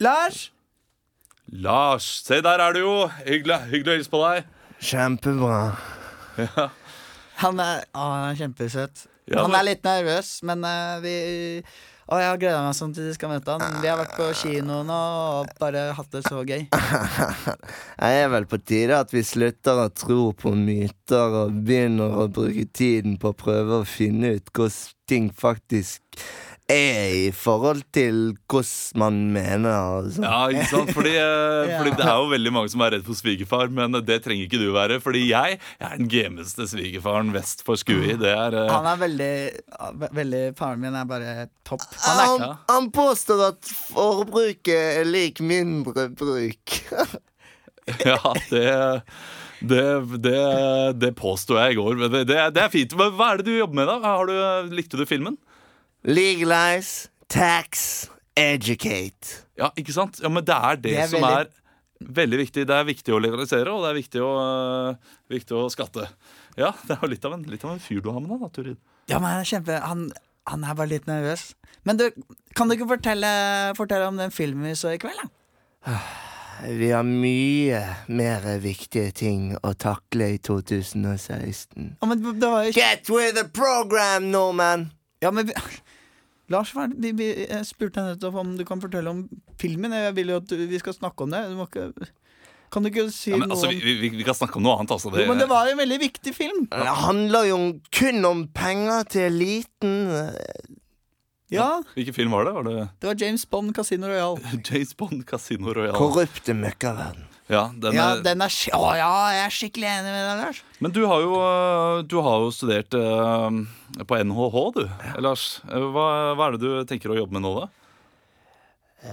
Lars!
Lars. Se, der er du jo. Hyggelig, hyggelig å hilse på deg.
Kjempebra.
Han er, å, han er kjempesøt.
Ja,
han
men-
er litt nervøs, men eh, vi Å, jeg har gleda meg sånn til de skal møte han. Vi har vært på kino nå og bare hatt det så gøy.
Jeg er vel på tide at vi slutter å tro på myter og begynner å bruke tiden på å prøve å finne ut hvordan ting faktisk er i forhold til hvordan man mener. og sånn.
Ja, ikke sant? Fordi, eh, fordi det er jo veldig mange som er redd for svigerfar, men det trenger ikke du være. Fordi jeg er den gameste svigerfaren vest for Skui. Det er eh,
Han er veldig, ve- veldig Faren min er bare topp. Han er,
Han, han påstår at forbruket er lik mindre bruk.
Ja, det det, det, det påsto jeg i går. men Det, det, er- det er fint. Hva hva er det du jobber med, da? Har du, likte du filmen?
Legalize, tax, educate.
Ja, ikke sant? Ja, Men det er det,
Det er
som
veldig-
er veldig viktig. Det er viktig å legalisere, og det er viktig å, øh, viktig å skatte. Ja, det er jo litt av en, litt av en fyr du har med deg, da, Turid.
ja, men han er kjempe han, han er bare litt nervøs. Men du, kan du ikke fortelle, fortelle om den filmen vi så i kveld, da?
Vi har mye mer viktige ting å takle i 2016.
Ja, men det var jo ikke
Get with the program, Norman!
Ja, men vi, Lars, hva er det- vi, vi, jeg spurte deg nettopp om du kan fortelle om filmen. Jeg vil jo at du- vi skal snakke om det. Du må ikke Kan du ikke si
Ja, men,
noe
altså,
om
vi, vi, vi- vi kan snakke om noe annet, altså. Det,
Jo, men det var en veldig viktig film.
Det handler jo om- kun om penger til eliten. eh,
Ja,
Hvilken film var det? Var det
det var James Bond, Casino Royale.
James Bond, Casino Royale?
Korrupte møkkaverden.
Ja, den
Ja,
er-
den er sk- Å ja, jeg er skikkelig enig med deg, Lars.
Men du har jo, øh, du har jo studert øh, på NHH, du, Lars. Eh, Hva, hva er det du tenker å jobbe med nå, da?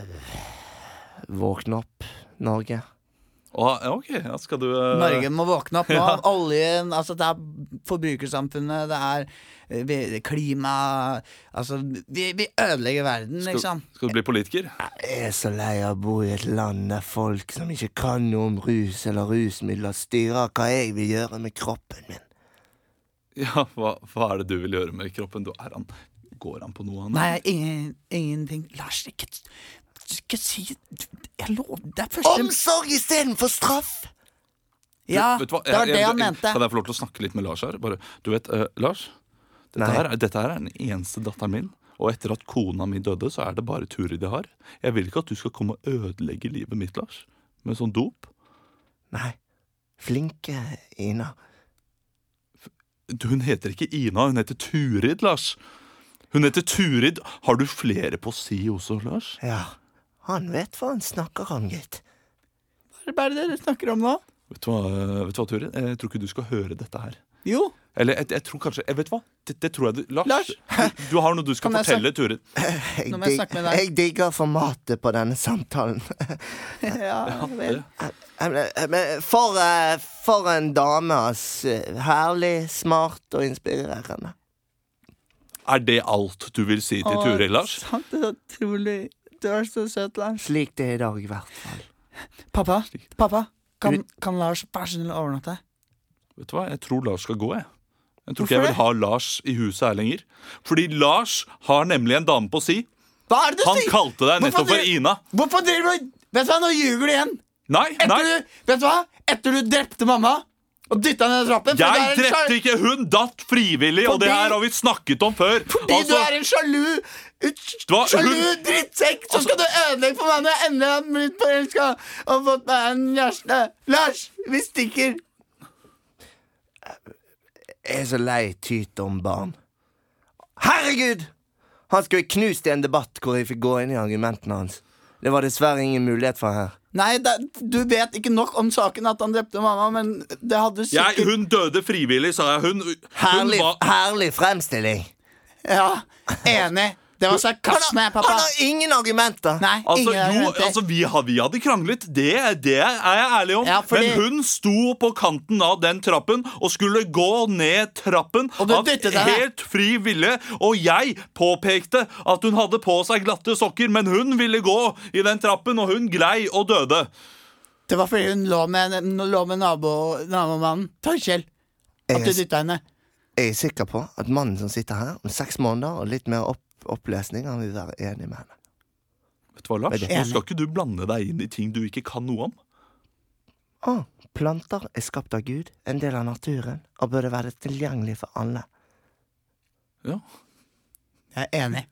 Våkne opp, Norge.
Å, ja, ok, ja, skal du øh,
Norge må våkne opp nå. Oljen, altså det er forbrukersamfunnet, det er eh, vi- klima Altså, vi, vi ødelegger verden, liksom.
Skal du bli politiker?
Jeg er så lei av å bo i et land der folk som ikke kan noe om rus eller rusmidler, styrer hva jeg vil gjøre med kroppen min.
Ja, hva, hva er det du vil gjøre med kroppen? Du, er han, går han på noe? Han?
Nei, ingen, ingenting. Lars, ikke, ikke si Jeg lover Det er første
Omsorg istedenfor straff!
Ja,
Du, vet
det
du hva?
var
Jeg- jeg-
det han mente.
Kan jeg få lov til å snakke litt med Lars her? Bare, du vet, eh, Lars, dette
Nei.
her, er- dette her er den eneste datteren min. Og etter at kona mi døde, så er det bare Turid jeg har. Jeg vil ikke at du skal komme og ødelegge livet mitt, Lars. Med sånn dop.
Nei. Flinke Ina.
Du, Hun heter ikke Ina, hun heter Turid, Lars. Hun heter Turid. Har du flere på si også, Lars?
Ja, han vet hva han snakker om, gitt.
Hva er det dere snakker om nå?
Vet du hva, eh, vet du hva Turid? Jeg tror ikke du skal høre dette her.
Jo,
Eller jeg, jeg tror kanskje jeg Vet hva? Det, det tror jeg du Lars,
Lars?
du, du har noe du skal
Kan jeg
fortelle, Turid.
Jeg,
Nå må jeg
dig-
snakke med deg.
jeg digger formatet på denne samtalen.
ja vel.
Eh, eh, men For, eh, for en dame, ass. Herlig, smart og inspirerende.
Er det alt du vil si til Turid, Lars?
Å, sant, det er utrolig. Du er så søt, Lars.
Slik det er i dag, i hvert fall.
Pappa, pappa, kan, kan Lars være så snill å overnatte?
Vet du hva, Jeg tror Lars skal gå, jeg. Jeg tror
Hvorfor
ikke jeg
det?
vil ha Lars i huset her lenger. Fordi Lars har nemlig en dame på si.
Hva er det du
Han
sier?!
kalte deg nettopp
Hvorfor
for
dere-
Ina.
Hvorfor driver du Vet du hva, nå ljuger du igjen!
Nei, nei!
Etter du, vet du hva? Etter du drepte mamma og dytta henne ned trappen fordi
Jeg
du er en
drepte
sjalu-
ikke! Hun datt frivillig, og det
Fordi-
her har vi snakket om før. Altså,
Fordi du er en sjalu ut-
var-
Sjalu
hun- Altså-
drittsekk som skal du ødelegge for meg når jeg endelig har blitt forelska og fått meg en kjæreste. Lars, vi stikker.
Jeg er så lei tyt om barn. Herregud! Han skulle jeg knust i en debatt hvor jeg fikk gå inn i argumentene hans. Det var dessverre ingen mulighet for her.
Nei, da, du vet ikke nok om saken at han drepte mamma, men det hadde du
jeg,
sikkert
hun døde frivillig, sa jeg. Hun, hun
Herlig,
var
herlig fremstilling.
Ja, enig. Det var sarkasme,
Han
pappa.
har ingen argumenter.
Nei,
Altså,
ingen
jo,
argumenter.
altså vi, har, vi hadde kranglet, det, det er jeg ærlig om.
Ja, fordi-
Men hun sto på kanten av den trappen og skulle gå ned trappen
Og du
av
dyttet henne.
helt fri vilje. Og jeg påpekte at hun hadde på seg glatte sokker, men hun ville gå i den trappen, og hun glei og døde.
Det var fordi hun lå med, en- lå med nabo, nabomannen. Takk, Kjell. At du
Jeg-
dytta henne.
Jeg er sikker på at mannen som sitter her om seks måneder og litt mer opp opplesning, han vil være enig med henne.
Vet du hva, Lars?
Veldig.
Nå skal ikke du blande deg inn i ting du ikke kan noe om.
Å, planter er skapt av Gud, en del av naturen, og burde være tilgjengelig for alle.
Ja.
Jeg er enig.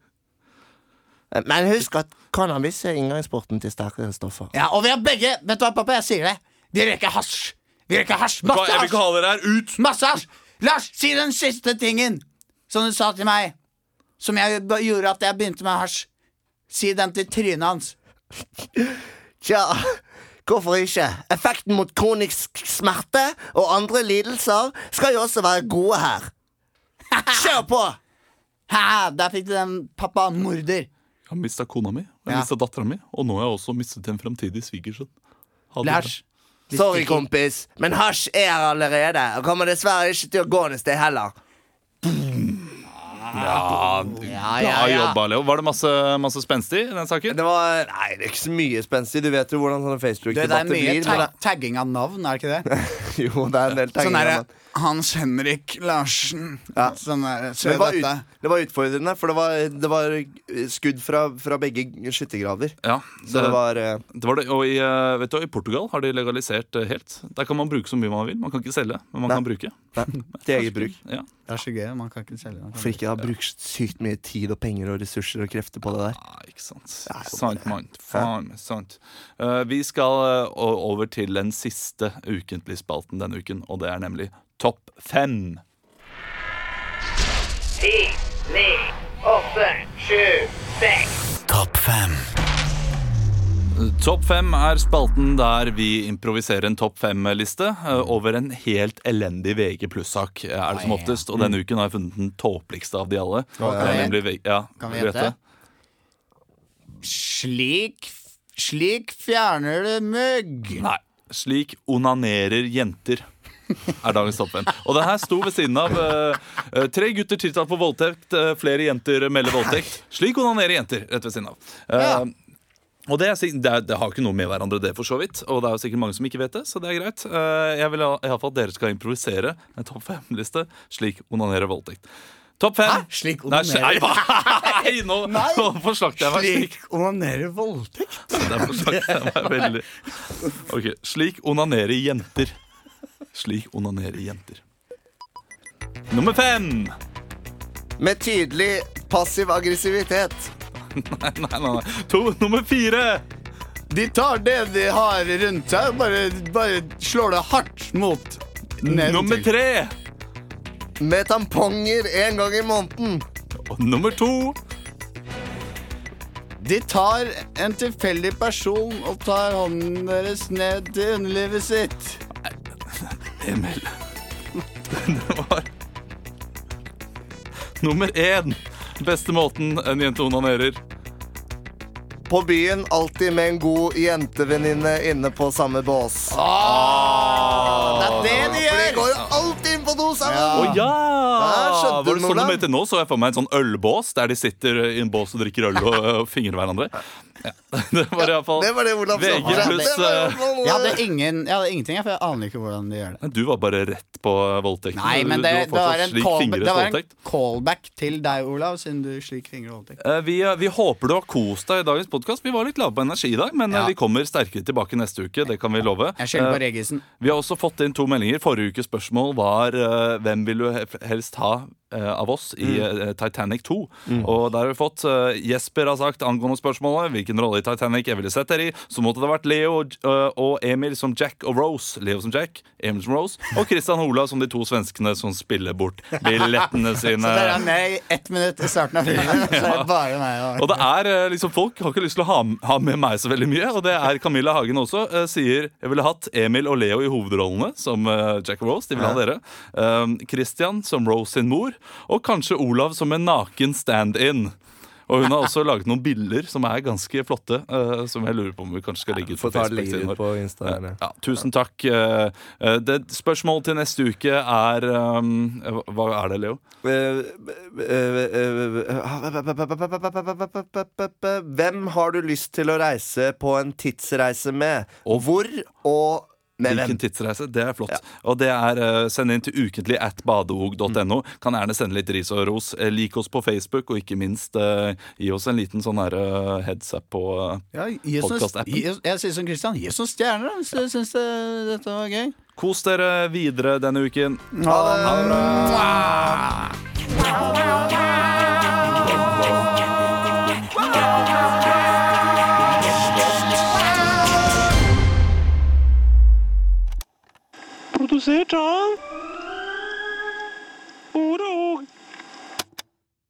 Men husk at cannabis er inngangsporten til sterkere stoffer.
Ja, Og vi har begge Vet du hva, pappa, jeg sier det. Vi røyker hasj. Vi røyker hasj.
Vet du hva,
Masse
Jeg vil
hasj.
ikke ha dere her ut!
Masse hasj. Lars, si den siste tingen som du sa til meg, som jeg b- gjorde at jeg begynte med hasj. Si den til trynet hans.
Tja, hvorfor ikke? Effekten mot kronisk smerte og andre lidelser skal jo også være gode her. Kjør på!
Hæ, der fikk du den, pappa. Morder.
Jeg har mista kona mi, jeg har
Ja.
mistet dattera mi, og nå har jeg også mistet en framtidig svigersønn. Ha det
Lars.
Sorry, kompis, men hasj er her allerede, og kommer dessverre ikke til å gå noe sted heller.
Ja, Bra jobba, Leo. Var det masse, masse spenstig i den saken?
Det var Nei, det er ikke så mye spenstig. Du vet jo hvordan sånne
Det, det er
Facebook-debatter
mye
blir. men
tag tagging av navn, er det ikke det?
det- Jo, det er en del
Sånn
tegninger,
derre
men-
Hans Henrik Larsen. Sånn derre Se
det var,
dette.
ut, det var utfordrende, for det var, det var skudd fra, fra begge skyttergraver.
Ja,
Så det var eh,
det var det. Og i, eh, vet du, hva, i Portugal har de legalisert eh, helt. Der kan man bruke så mye man vil. Man kan ikke selge, men man
Nei.
kan bruke.
til eget bruk.
Ja.
Det er så gøy. Man kan ikke selge man kan
For ikke å ha brukt sykt mye tid og penger og ressurser og krefter på det der.
Ah, ikke sant.
Ja, jo,
Sant, mann. Faen meg sant. Eh, vi skal eh, o- over til den siste ukentlige spalten denne uken, og det er nemlig Topp fem.
Ti, ni, åtte, sju, seks.
Topp fem. Topp fem er spalten der vi improviserer en topp fem-liste eh, over en helt elendig VG pluss-sak. eh, er det som oftest, Og
Mm.
denne uken har jeg funnet den tåpeligste av de alle. Det er nemlig V- ja,
Kan vi
vil du
gjette?
Slik Slik fjerner du mugg.
Nei. Slik onanerer jenter. Er dagens topp fem. Og den her sto ved siden av eh, eh, tre gutter tiltalt for voldtekt, eh, flere jenter melder voldtekt. Slik onanerer jenter, rett ved siden av. Eh, Og det, er, sikk- det, er, det har jo ikke noe med hverandre, det, for så vidt. Og det er jo sikkert mange som ikke vet det, så det er greit. Eh, Jeg vil ha- i alle fall at dere skal improvisere en topp fem-liste slik onanerer voldtekt. Topp fem. Hæ?
Slik
Nei,
onanerer-
sl- nei, hva? Nei, nå, nå forslakter jeg meg. Slik
Slik onanerer voldtekt.
Derfor snakket jeg meg veldig Ok, Slik onanerer jenter. Slik onanerer jenter. Nummer fem!
Med tydelig passiv aggressivitet.
Nei, nei, nei. nei. To, nummer fire!
De tar det de har rundt seg, og bare, bare slår det hardt mot
Nummer
til.
tre!
Med tamponger én gang i måneden.
Og nummer to.
De tar en tilfeldig person og tar hånden deres ned til underlivet sitt.
Emil. Det var Nummer én. Beste måten en jente onanerer.
På byen alltid med en god jentevenninne inne på samme bås.
Det
Ah,
er Ah. det de gjør! De går jo alltid inn på do
Å
sammen.
ja!
Der skjønte
Var
du,
det sånn de
Nordland.
mente nå, så jeg for meg en sånn ølbås der de sitter i en bås og drikker øl og, og fingrer hverandre. Ja. Det var iallfall
Det var det Olav sa.
VG pluss,
Det var jo
Jeg
noe-
hadde, ingen, jeg hadde ingenting, jeg, for jeg aner ikke hvordan de gjør det.
Du var bare rett på voldtekten.
Nei, men det,
du
det, var,
fortsatt
en
slik
callback,
fingret
det var en
voldtekt.
callback til deg, Olav, siden du slik fingrer voldtekt.
Eh, Vi, vi håper du har kost deg i dagens podkast. Vi var litt lave på energi i dag, men eh,
Ja.
vi kommer sterkere tilbake neste uke. Det kan vi love.
Jeg skylder
Eh,
på Regisen.
Vi har også fått inn to meldinger. Forrige ukes spørsmål var eh, hvem vil du he- helst ha eh, av oss i
Mm.
eh, Titanic 2. Og der har vi fått eh, Jesper har sagt angående spørsmålet hvilken rolle i Titanic jeg ville sett dere i. Så måtte det ha vært Leo og, eh, og Emil som Jack og Rose. Leo som Jack, Emil som Rose. Og Christian Olav som de to svenskene som spiller bort billettene
Så
sine.
dere er med i ett minutt i starten av filmen. Så er det bare
Og
meg og
det er eh, liksom Folk har ikke lyst til å ha, ha med meg så veldig mye. Og det er Camilla Hagen også. eh, Sier jeg ville hatt Emil og Leo i hovedrollene som eh, Jack og Rose. De vil ha dere. Eh, Um, Christian som Rose sin mor. Og kanskje Olav som en naken stand-in. Og hun har også laget noen bilder som er ganske flotte, eh, som jeg lurer på om vi kanskje skal legge ut på
Få ta det
Facebook.
legge
siden vår.
ut på Insta. eller?
Ja, tusen takk. Eh, eh, Det spørsmålet til neste uke er ehm, hva- Hva er det, Leo?
Hvem har du lyst til å reise på en tidsreise med?
Og
hvor og med hvem?
Hvilken tidsreise? Det er flott. Og det er eh, Send inn til ukentlig at badeog.no. Kan gjerne sende litt ris og ros. Eh, Lik oss på Facebook, og ikke minst eh, gi oss en liten sånn her, eh, heads up på
Ja, gi oss noen- gi
podkastappen.
oss- Jeg sier som Christian, gi oss noen stjerner da, hvis du syns det, dette var gøy.
Kos dere videre denne uken.
Ha det bra.
Produsert av